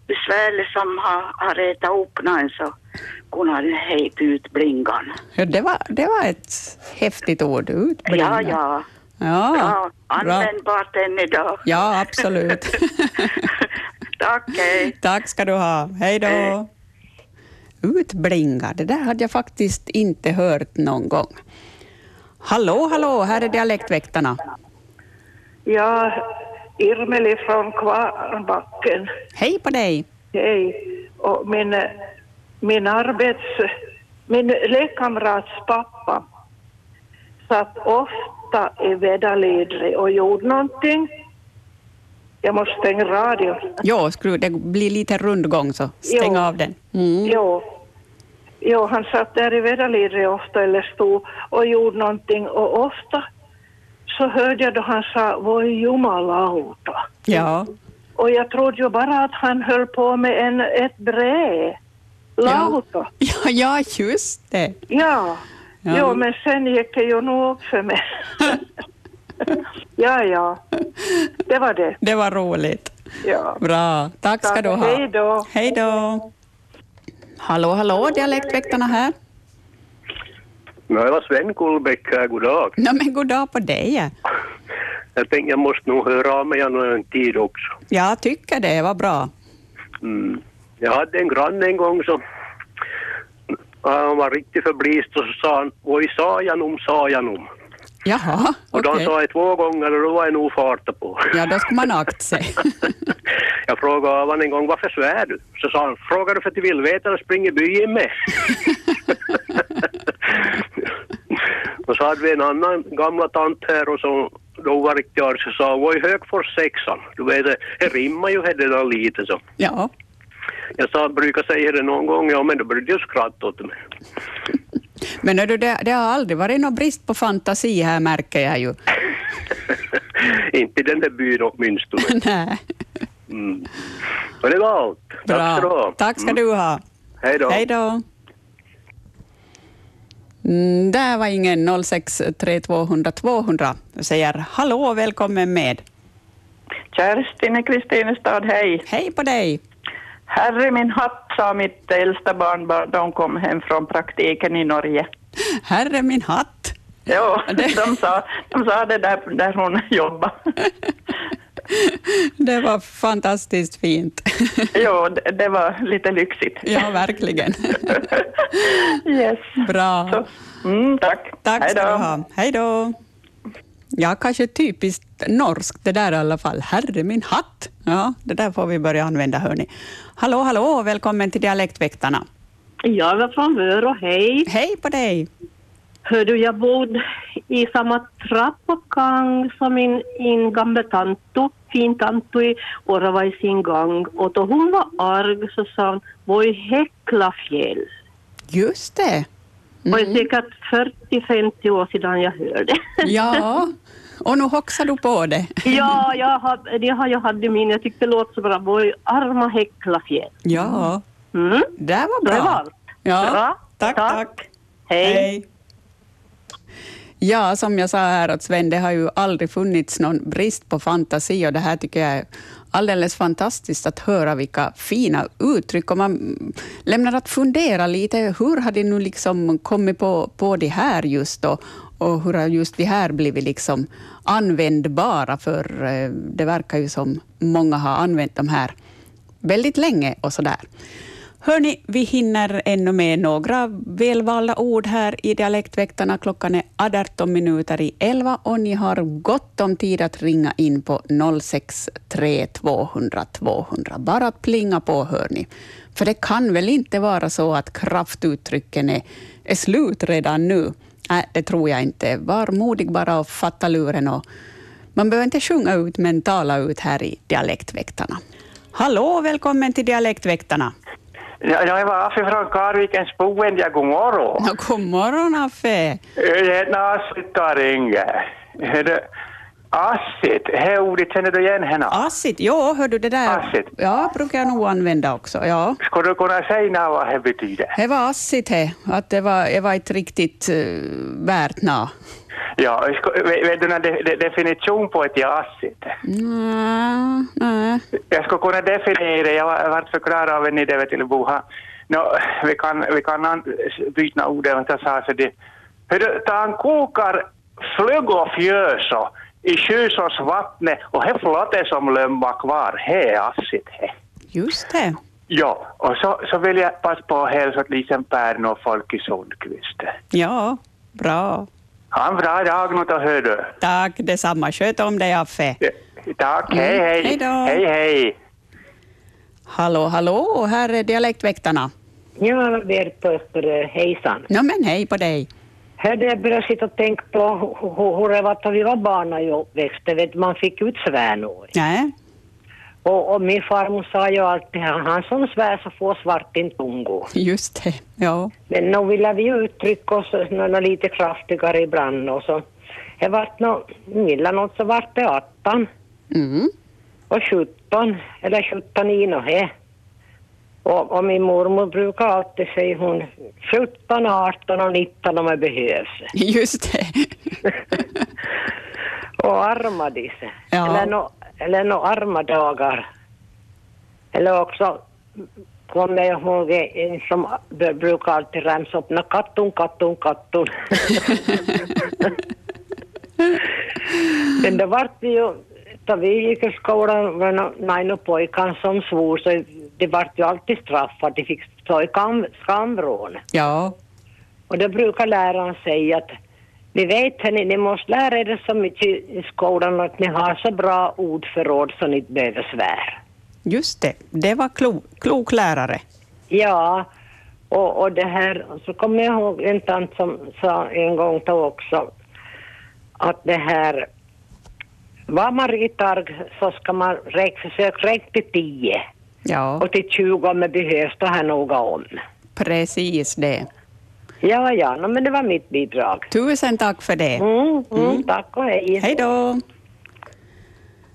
[SPEAKER 10] besvärligt som har, har retat upp någon så kunde han hejt utblingarna.
[SPEAKER 1] Ja, det, var, det var ett häftigt ord, utblingar.
[SPEAKER 10] Ja, ja.
[SPEAKER 1] Ja,
[SPEAKER 10] Bra.
[SPEAKER 1] bra.
[SPEAKER 10] Användbart än idag.
[SPEAKER 1] ja
[SPEAKER 20] (laughs)
[SPEAKER 1] absolut.
[SPEAKER 10] Tack, hej.
[SPEAKER 1] Tack ska du ha. Hej då.
[SPEAKER 10] Hej.
[SPEAKER 1] Utblingar, det där hade jag faktiskt inte hört någon gång. Hallå, hallå, här är Dialektväktarna.
[SPEAKER 20] Ja, Irmeli från Kvarnbacken.
[SPEAKER 1] Hej på dig.
[SPEAKER 20] Hej. Och min, eh, min arbets... Min lekkamrats pappa satt ofta i väderlidrig och gjorde någonting. Jag måste stänga radion.
[SPEAKER 1] Jo, skru, det blir lite rundgång, så stäng
[SPEAKER 20] Jo.
[SPEAKER 1] av den. Mm. (laughs)
[SPEAKER 20] Jo. jo, han satt där i Vedalidre ofta eller stod och gjorde någonting och ofta så hörde jag då han sa ”voi jumalauta”
[SPEAKER 1] Ja.
[SPEAKER 20] och jag trodde ju bara att han höll på med en, ett brä. Lauta.
[SPEAKER 1] Ja, ja, just det.
[SPEAKER 20] Ja.
[SPEAKER 1] Ja.
[SPEAKER 20] Jo, men sen gick det ju nog upp för mig. (laughs) ja, ja. Det var det.
[SPEAKER 1] Det var roligt.
[SPEAKER 20] Ja.
[SPEAKER 1] Bra. Tack ska
[SPEAKER 20] Tack,
[SPEAKER 1] du ha.
[SPEAKER 20] hej då.
[SPEAKER 1] Hej då. Hallå, hallå, Dialektväktarna här. (laughs)
[SPEAKER 21] Nå, det var Sven Kullbäck här, god dag.
[SPEAKER 1] Nå, men god dag på dig.
[SPEAKER 21] Jag tänkte jag måste nog höra av mig annan en tid också.
[SPEAKER 1] Jag tycker det var bra.
[SPEAKER 21] Mm. Jag hade en granne en gång som han var riktigt förblist och så sa han oj saajanum saajanum.
[SPEAKER 1] Jaha,
[SPEAKER 21] Och de
[SPEAKER 1] okej.
[SPEAKER 21] sa det två gånger och då var jag nog farta på.
[SPEAKER 1] Ja, då ska man akta sig.
[SPEAKER 21] Jag frågade honom en gång varför svär du? Så sa han frågar du för att du vill veta och springer byn med. och så hade vi en annan gamla tant här och som då var riktigt arg så sa hon, oj Högfors sexan. Du vet det- det rimmar ju här det där lite så.
[SPEAKER 1] Ja.
[SPEAKER 21] Jag sa, brukar säga det någon gång, ja men då brukar jag skratta åt mig.
[SPEAKER 1] Men hördu, det, det har aldrig varit någon brist på fantasi här märker jag ju.
[SPEAKER 21] (laughs)
[SPEAKER 1] (laughs)
[SPEAKER 21] Inte i den där byn åtminstone.
[SPEAKER 1] Nej.
[SPEAKER 21] Mm. Och det var allt. Tack ska du ha.
[SPEAKER 1] Tack ska
[SPEAKER 21] Mm.
[SPEAKER 1] du ha.
[SPEAKER 21] Hej då.
[SPEAKER 1] Hej då. Mm, där var ingen 06 200 200. Jag säger hallå och välkommen med.
[SPEAKER 22] Kerstin i Kristinestad, hej.
[SPEAKER 1] Hej på dig.
[SPEAKER 22] Herre min hatt, sa mitt äldsta barnbarn, de kom hem från praktiken i Norge.
[SPEAKER 1] Herre min hatt.
[SPEAKER 22] Jo, de, sa, de sa det där, där hon (laughs) jobbade.
[SPEAKER 1] Det var fantastiskt fint.
[SPEAKER 22] (laughs) Jo, det, det var lite lyxigt.
[SPEAKER 1] Ja, verkligen.
[SPEAKER 22] (laughs) Yes. mm,
[SPEAKER 1] Bra.
[SPEAKER 22] tack.
[SPEAKER 1] Tack ska
[SPEAKER 22] Hej då.
[SPEAKER 1] du ha. Hej då. Ja, kanske typiskt norskt det där i alla fall. Herre min hatt. Ja, det där får vi börja använda hörni. Hallå, hallå och välkommen till Dialektväktarna.
[SPEAKER 16] Jag var från Vörå, hej.
[SPEAKER 1] Hej på dig.
[SPEAKER 16] Hör du, jag bodde i samma trappuppgång som min, min gamla tanto, fin tanto i Åre var i sin gång. Och då hon var arg så sa hon, voi häckla fjäll.
[SPEAKER 1] Just det.
[SPEAKER 16] Det
[SPEAKER 1] Mm.
[SPEAKER 16] var säkert 40-50 år sedan jag hörde. (laughs)
[SPEAKER 22] (laughs)
[SPEAKER 1] Ja, och nu hoxar du på det.
[SPEAKER 16] ja, jag har, det har jag hade i min. Jag tyckte det låter så bra. Voi arma häckla fjäll.
[SPEAKER 1] Ja,
[SPEAKER 16] Mm.
[SPEAKER 1] det var bra.
[SPEAKER 16] Det var allt.
[SPEAKER 1] Ja,
[SPEAKER 16] Bra.
[SPEAKER 1] Tack, tack.
[SPEAKER 16] Hej.
[SPEAKER 1] Ja, som jag sa här åt Sven, det har ju aldrig funnits någon brist på fantasi och det här tycker jag är alldeles fantastiskt att höra vilka fina uttryck och man lämnar att fundera lite. Hur har de nu liksom kommit på, på det här just då? Och hur har just det här blivit liksom användbara? För eh, det verkar ju som många har använt de här väldigt länge och sådär. Hörni, vi hinner ännu med några välvalda ord här i Dialektväktarna. Klockan är 18 minuter i 11 och ni har gott om tid att ringa in på 063 200 200. Bara att plinga på, hör ni. För det kan väl inte vara så att kraftuttrycken är, är slut redan nu? Nej, det tror jag inte. Var modig bara och fatta luren. Och man behöver inte sjunga ut, men tala ut här i Dialektväktarna. Hallå välkommen till Dialektväktarna.
[SPEAKER 19] Ja, jag var Affe från Karvikens boende, ja god morgon.
[SPEAKER 1] Ja, god morgon Affe.
[SPEAKER 19] Jag heter Assit Taringe. Hörru, Assit, det ordet känner du igen henne?
[SPEAKER 1] Assit, ja hör du det där? Assit. Ja, brukar jag nog använda också. Ja.
[SPEAKER 19] Skulle du kunna säga nå vad det betyder?
[SPEAKER 1] Det var assigt det, att det var, det var ett riktigt uh, värt nå.
[SPEAKER 19] Ja, sku- vet vet du någon de- de- definition på ett ja, Assit?
[SPEAKER 1] Mm, nej.
[SPEAKER 19] Jag skulle kunna definiera, jag var- jag vart förklarad av en idé till Boha. Nå, vi kan, vi kan an- byta ordet, vad jag sa så det. Hörru, ta han kokar flög och fjöså i Tjusås vattnet och det flotte som lämnar kvar, det är assigt det.
[SPEAKER 1] Just det.
[SPEAKER 19] Ja, och så, så vill jag passa på att hälsa till Lisen Pärn och Folke Sundqvist.
[SPEAKER 1] Ja, bra.
[SPEAKER 19] Ha en bra dag nu då, hör du.
[SPEAKER 1] Tack detsamma. Sköt om dig Affe.
[SPEAKER 19] Tack,
[SPEAKER 1] Mm,
[SPEAKER 19] hej hej.
[SPEAKER 1] hej då.
[SPEAKER 19] Hej hej.
[SPEAKER 1] Hallå, hallå, här är Dialektväktarna.
[SPEAKER 3] Ja, Verpo Österö, hejsan.
[SPEAKER 1] Ja, men hej på dig.
[SPEAKER 3] Hörde jag började sitta och tänka på hu- hu- hur det var då vi var barn när jag växte, vet du, man fick ut svärnor.
[SPEAKER 1] Nej.
[SPEAKER 3] Och, och min farmor sa ju alltid, han han som svär så får svarten tungo.
[SPEAKER 1] Just det, ja.
[SPEAKER 3] Men nog ville vi uttrycka oss nå- nå lite kraftigare ibland och så. Det vart nå, illa något så vart det 18
[SPEAKER 1] Mm.
[SPEAKER 3] och 17, eller 17 i nå he. Och, och min mormor brukar alltid säga hon 17, 18 och 19 om det behövs.
[SPEAKER 1] (laughs) Just det.
[SPEAKER 3] (laughs) och armadis.
[SPEAKER 1] Ja.
[SPEAKER 3] Eller nå eller nå arma dagar. Eller också kommer jag ihåg en som b- brukar alltid ramsa upp nå kattun,
[SPEAKER 1] (laughs)
[SPEAKER 3] kattun, kattun. Men det vart vi ju, då vi gick i skolan var det nå- några pojkar som svor så de vart ju alltid straffade, de fick stå i kam- skamvrån.
[SPEAKER 1] Ja.
[SPEAKER 3] Och då brukar läraren säga att ni vet hörni, ni måste lära er så mycket i skolan att ni har så bra ordförråd så ni inte behöver svär.
[SPEAKER 1] Just det, det var klo, klok lärare.
[SPEAKER 3] Ja, och, och det här, så kommer jag ihåg en tant som sa en gång då också att det här, var man ritarg så ska man räk, försöka räkna till tio
[SPEAKER 1] Ja,
[SPEAKER 3] och till tjugo om det behövs, då här noga om.
[SPEAKER 1] precis det.
[SPEAKER 3] Ja, ja, no, men det var mitt bidrag.
[SPEAKER 1] Tusen tack för det.
[SPEAKER 3] mm, Tack och hej.
[SPEAKER 1] Hej då.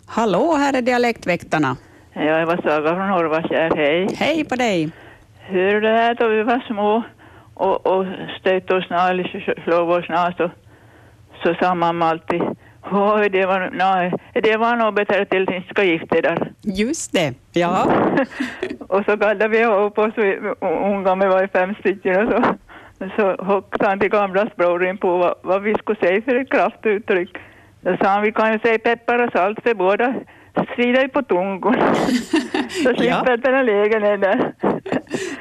[SPEAKER 1] Hallå, här är dialektväktarna.
[SPEAKER 23] Ja, jag var Saga från Orvakär, hej.
[SPEAKER 1] Hej på dig.
[SPEAKER 23] Hur det här då vi var små och, och stötte och snarlis och slog och snas och så sa mamma alltid Oj, det var, nej, det var nog bättre till att ni inte ska gifta er där.
[SPEAKER 1] Just det, ja.
[SPEAKER 23] (laughs) och så gaddade vi upp oss, vi- ungdomar var i fem stycken och så, så hockade han till gamla brorin på vad, vad vi skulle säga för ett kraftuttryck. Då sa han, vi kan ju säga peppar och salt för båda svider ju på tungan.
[SPEAKER 1] (laughs)
[SPEAKER 23] så slipper ja. den här lägenheten.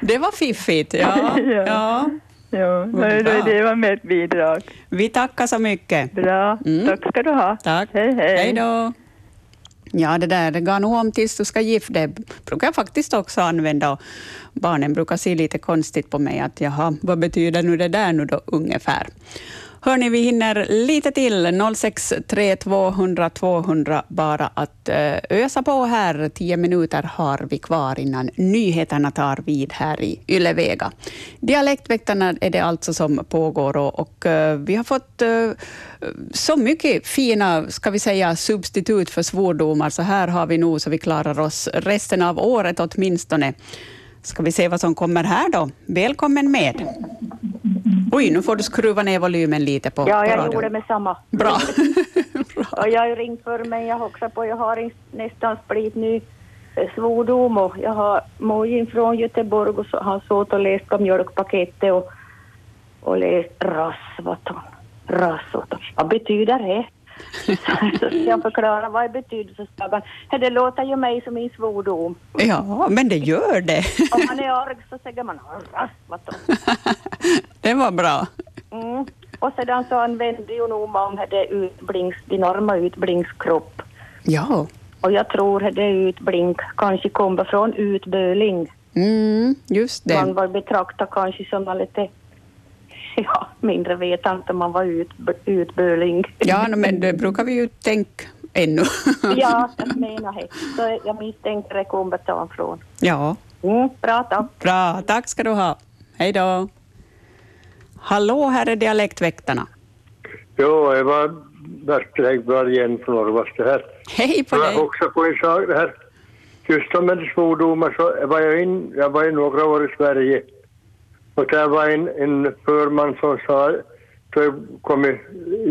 [SPEAKER 1] Det var fiffigt. Ja,
[SPEAKER 23] (laughs) Ja.
[SPEAKER 1] ja.
[SPEAKER 23] Ja, men det- det var mitt bidrag.
[SPEAKER 1] Vi tackar så mycket. Mm.
[SPEAKER 23] Bra, tack ska du ha.
[SPEAKER 1] Tack.
[SPEAKER 23] Hej, hej.
[SPEAKER 1] Hej då. Ja, det där, det går nog om tills du ska gifta dig, brukar jag faktiskt också använda. Och Barnen brukar se lite konstigt på mig, att jaha, vad betyder nu det där nu då ungefär? Hörni, vi hinner lite till. 063 200 200 bara att eh, ösa på här. Tio minuter har vi kvar innan nyheterna tar vid här i Ylevega. Dialektväktarna är det alltså som pågår och, och eh, vi har fått eh, så mycket fina, ska vi säga, substitut för svordomar. Så här har vi nog så vi klarar oss resten av året åtminstone. Ska vi se vad som kommer här då? Välkommen med. Oj, nu får du skruva ner volymen lite på,
[SPEAKER 2] Ja,
[SPEAKER 1] på
[SPEAKER 2] jag
[SPEAKER 1] radion.
[SPEAKER 2] gjorde med samma. (laughs)
[SPEAKER 1] Bra. (laughs)
[SPEAKER 2] Och jag har ju ringt för mig, jag hoxar på, jag har en- nästan blivit ny eh, svordom och jag har Mojin från Göteborg och så, han såg och läste om mjölkpaketet och, och läst rasvaton. Rasvaton. Vad betyder det? (laughs) så ska jag förklara vad det betyder så sa han, "Hä, det låter ju mig som en svordom.
[SPEAKER 1] Ja, men det gör det.
[SPEAKER 2] (laughs) Om man är arg så säger man rasvaton.
[SPEAKER 1] Det var bra.
[SPEAKER 2] Mm. Och sedan så använde ju Noma om det utblings, de norma utblinkskropp.
[SPEAKER 1] Ja.
[SPEAKER 2] Och jag tror att det är utblink kanske kommer från utböling.
[SPEAKER 1] Mm, just det.
[SPEAKER 2] Man var betraktad kanske som en lite (laughs) ja, mindre vetande om man var ut, utböling.
[SPEAKER 1] Ja, nå, men det brukar vi ju tänka ännu.
[SPEAKER 2] ja, jag menar det. Så jag misstänker det kommer därifrån.
[SPEAKER 1] (laughs) Ja.
[SPEAKER 2] Mm, Bra, tack.
[SPEAKER 1] Bra, tack ska du ha. Hej då. Hallå, här är dialektväktarna.
[SPEAKER 24] Jo, det var Bertil Häggberg igen från Orvaste här.
[SPEAKER 1] Hej på dig.
[SPEAKER 24] Jag också på en sak det här. Just om med svordomar så var jag in, jag var i några år i Sverige. Och där var en, en förman som sa, då jag kom i,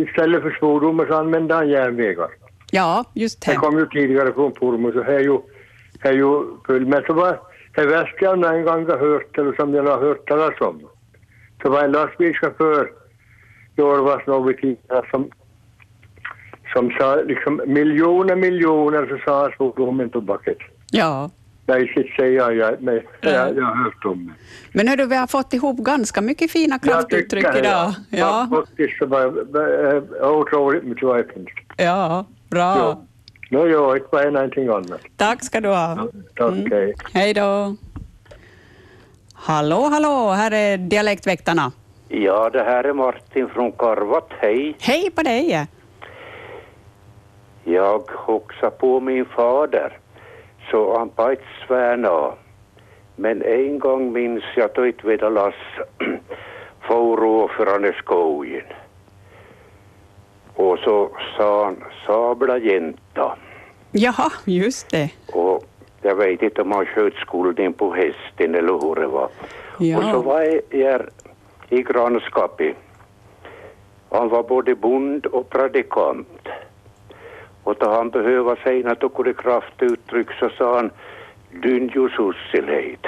[SPEAKER 24] istället för svordomar så använde han järnvägar.
[SPEAKER 1] Ja, just det.
[SPEAKER 24] Jag kom ju tidigare från Pormo så här är ju, här är ju full. Men så var det värsta jag någon gång har hört, eller som jag har hört talas om, så var en lastbilschaufför i Orvas Novitida som, som sa liksom miljoner, miljoner, så sa han svordomen tobaket.
[SPEAKER 1] Ja.
[SPEAKER 24] Nej, shit säger jag, jag, men jag, jag har hört om det.
[SPEAKER 1] Men hördu, vi har fått ihop ganska mycket fina kraftuttryck idag.
[SPEAKER 24] Ja.
[SPEAKER 1] Ja,
[SPEAKER 24] Faktiskt så var jag otroligt mycket vad jag finns.
[SPEAKER 1] ja bra.
[SPEAKER 24] Ja. Nå, ja, det var någonting annat.
[SPEAKER 1] Tack ska du ha. Mm.
[SPEAKER 24] Tack, hej.
[SPEAKER 1] Hej då. Hallå, hallå, här är dialektväktarna.
[SPEAKER 25] Ja, det här är Martin från Karvat. Hej.
[SPEAKER 1] Hej på dig.
[SPEAKER 25] Jag hoxar på min fader, så han bajt svärna. Men en gång minns jag då ett (clears throat) vedalas för råförande skogen. Och så sa han sabla jänta.
[SPEAKER 1] Jaha, just det. (laughs)
[SPEAKER 25] Och jag vet inte om han sköt skulden på hästen eller hur det var. Och så
[SPEAKER 1] Ja.
[SPEAKER 25] var jag i grannskapet. Han var både bond och predikant. Och då han behövde säga något och kunde kraftuttryck så sa han Dynjo sussileid.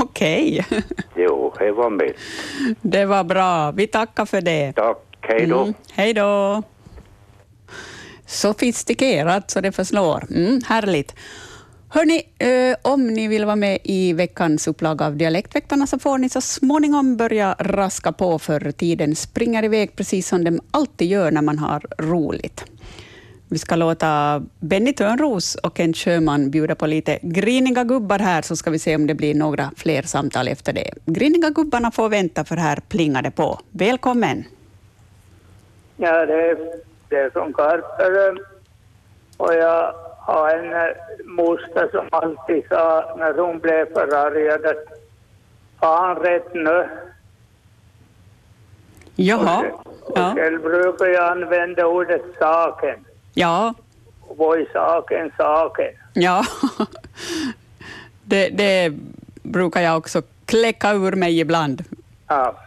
[SPEAKER 1] Okej,
[SPEAKER 25] (laughs) Jo, det var mitt.
[SPEAKER 1] det var bra. Vi tackar för det.
[SPEAKER 25] Tack, hej då.
[SPEAKER 1] Mm, hej då. Sofistikerat så det förslår. Mm, härligt. Hörni, eh, om ni vill vara med i veckans upplaga av Dialektväktarna så får ni så småningom börja raska på för tiden springer iväg precis som den alltid gör när man har roligt. Vi ska låta Benny Törnros och Kent Sjöman bjuda på lite griniga gubbar här så ska vi se om det blir några fler samtal efter det. Griniga gubbarna får vänta för här plingar det på. Välkommen!
[SPEAKER 26] Ja, det är, det är från Karpelö. Och jag har en eh, moster som alltid sa när hon blev förargad att har han rätt nu?
[SPEAKER 1] Jaha. Ja.
[SPEAKER 26] Själv brukar jag använda ordet saken.
[SPEAKER 1] Ja.
[SPEAKER 26] Vad är saken, saken?
[SPEAKER 1] Ja, det, det brukar jag också kläcka ur mig ibland.
[SPEAKER 26] Ja.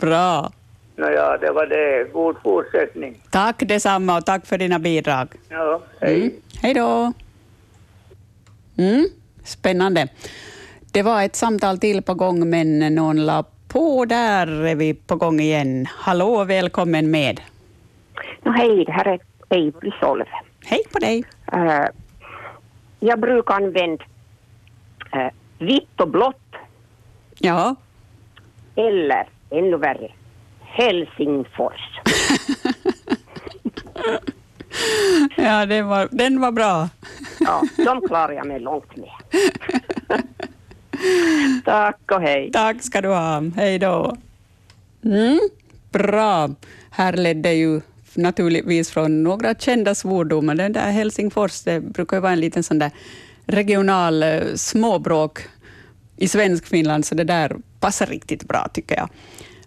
[SPEAKER 1] Bra.
[SPEAKER 26] Nåja, det var det. God fortsättning.
[SPEAKER 1] Tack detsamma och tack för dina bidrag.
[SPEAKER 26] Ja.
[SPEAKER 1] Mm. Hej då. Mm. Spännande. Det var ett samtal till på gång, men någon la på. Där är vi på gång igen. Hallå, välkommen med.
[SPEAKER 8] No hej, det här är Eh, Eivri Solve.
[SPEAKER 1] Hej på dig.
[SPEAKER 8] jag brukar använda eh, vitt och blått.
[SPEAKER 1] Ja.
[SPEAKER 8] Eller, ännu värre, Helsingfors.
[SPEAKER 1] Ja, den var, den var bra.
[SPEAKER 8] Ja, de klarar jag mig långt med.
[SPEAKER 1] Tack och hej. Tack ska du ha. Hej då. Mm, bra. Här ledde ju naturligtvis från några kända svordomar. Den där Helsingfors, det brukar ju vara en liten sån där regional eh, småbråk i svensk Finland, så det där passar riktigt bra tycker jag.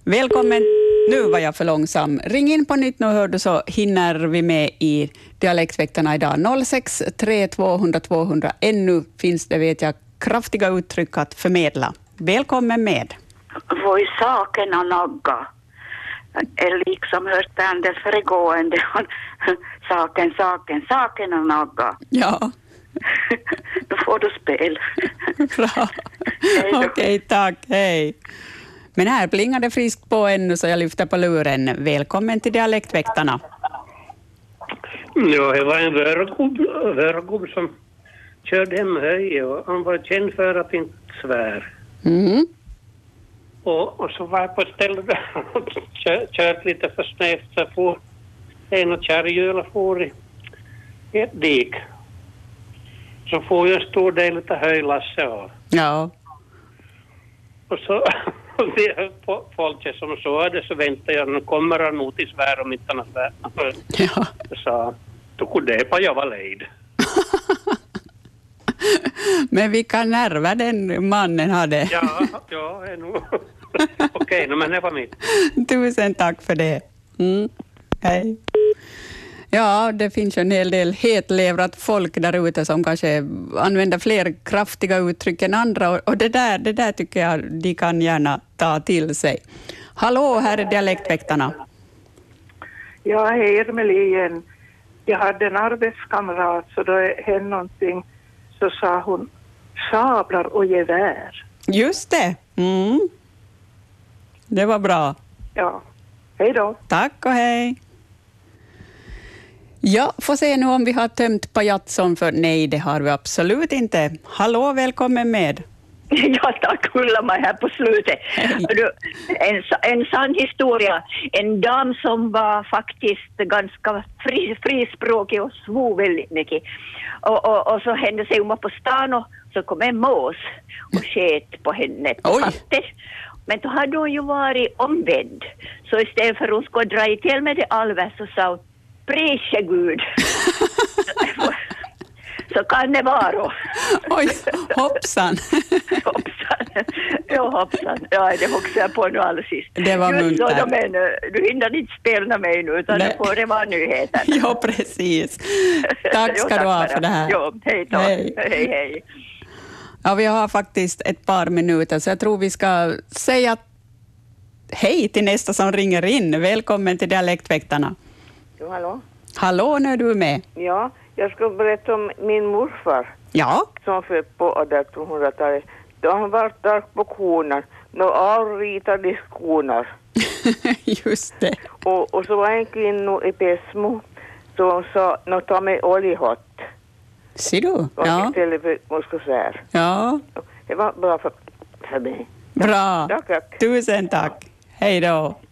[SPEAKER 1] Välkommen. Nu var jag för långsam. Ring in på nytt nu hör du så hinner vi med i Dialektväktarna idag. 06 3 200 200. Ännu finns det, vet jag, kraftiga uttryck att förmedla. Välkommen med.
[SPEAKER 10] Voi sakerna nagga. Är liksom hört an det föregående. (laughs) Saken, saken, sakerna nagga.
[SPEAKER 1] Ja.
[SPEAKER 10] Då får du spel.
[SPEAKER 1] Bra. (laughs) Okej, tack. Hej. Men här plingar det friskt på ännu, så jag lyfter på luren. Välkommen till Dialektväktarna.
[SPEAKER 27] Ja, det var en vörgubb, vörgubb som körde hem höje och han var känd för att inte svär.
[SPEAKER 1] Mm.
[SPEAKER 27] Och, och så var jag på ett ställe där (laughs) han kö- kört lite för snävt så jag for en och kärrhjul och for i i ett dik. Så for ju en stor del av höjlasset av.
[SPEAKER 1] Ja.
[SPEAKER 27] Och så (laughs) det är po- folket som såg det så väntade jag, nu kommer han nog till svär om inte han har svär.
[SPEAKER 1] Ja.
[SPEAKER 27] (laughs) Så, då kunde det på jag var lejd.
[SPEAKER 1] Men vilka nerver den mannen hade.
[SPEAKER 27] Ja, ja, det är nog.
[SPEAKER 1] (laughs)
[SPEAKER 27] Okej, nå, men det var mitt.
[SPEAKER 1] Tusen tack för det. Mm. Hej. Ja, det finns ju en hel del hetlevrat folk där ute som kanske använder fler kraftiga uttryck än andra och- och det där, det där tycker jag de kan gärna ta till sig. Hallå, här är Dialektväktarna.
[SPEAKER 20] Ja, hej Ermeli igen. Jag hade en arbetskamrat så då det hände någonting så sa hon sablar och gevär.
[SPEAKER 1] Just det. Mm. Det var bra.
[SPEAKER 20] Ja, hej då.
[SPEAKER 1] Tack och hej. Ja, får se nu om vi har tömt pajatson för nej, det har vi absolut inte. Hallå, välkommen med.
[SPEAKER 11] (laughs) Ja, tack Ulla-Maj här på slutet. Du, en, sa- en sann historia. En dam som var faktiskt ganska fri, frispråkig och svor väldigt mycket. Och, och, och så hände sig hon var på stan och så kom en mås och sket på henne på katten. Men då hade hon ju varit omvänd. Så istället för att hon skulle dra i till med det alver så sa hon Prise
[SPEAKER 1] (laughs)
[SPEAKER 11] Gud. så kan det vara.
[SPEAKER 1] Oj,
[SPEAKER 11] (laughs)
[SPEAKER 1] hoppsan.
[SPEAKER 11] Ja, hoppsan. Ja, det hoppar jag på nu allra sist.
[SPEAKER 1] Det var
[SPEAKER 11] Just så,
[SPEAKER 1] muntert.
[SPEAKER 11] men, eh, du hinner inte spela mig nu, utan
[SPEAKER 1] Nej.
[SPEAKER 11] nu får det vara nyheter.
[SPEAKER 1] (laughs) Ja,
[SPEAKER 11] (laughs)
[SPEAKER 1] precis. Tack ska du ha för det här.
[SPEAKER 11] Jo, hej då.
[SPEAKER 1] Hej.
[SPEAKER 11] Hej, hej.
[SPEAKER 1] Ja, vi har faktiskt ett par minuter, så jag tror vi ska säga hej till nästa som ringer in. Välkommen till Dialektväktarna.
[SPEAKER 6] Jo, hallå?
[SPEAKER 1] Hallå, nu är du med.
[SPEAKER 6] Ja, jag ska berätta om min morfar
[SPEAKER 1] Ja, (laughs)
[SPEAKER 6] som föddes på 1800-talet. Då han var stark på konan, då anritade konar.
[SPEAKER 1] Just det.
[SPEAKER 6] Och, och så var en kvinna i Pesmo som sa, nå ta mig oljehott.
[SPEAKER 1] Ser du?
[SPEAKER 6] Och
[SPEAKER 1] Ja.
[SPEAKER 6] istället för moskosär.
[SPEAKER 1] ja.
[SPEAKER 6] Det var bra för, för mig.
[SPEAKER 1] Bra.
[SPEAKER 6] Tack, tack.
[SPEAKER 1] Tusen tack. Hej då.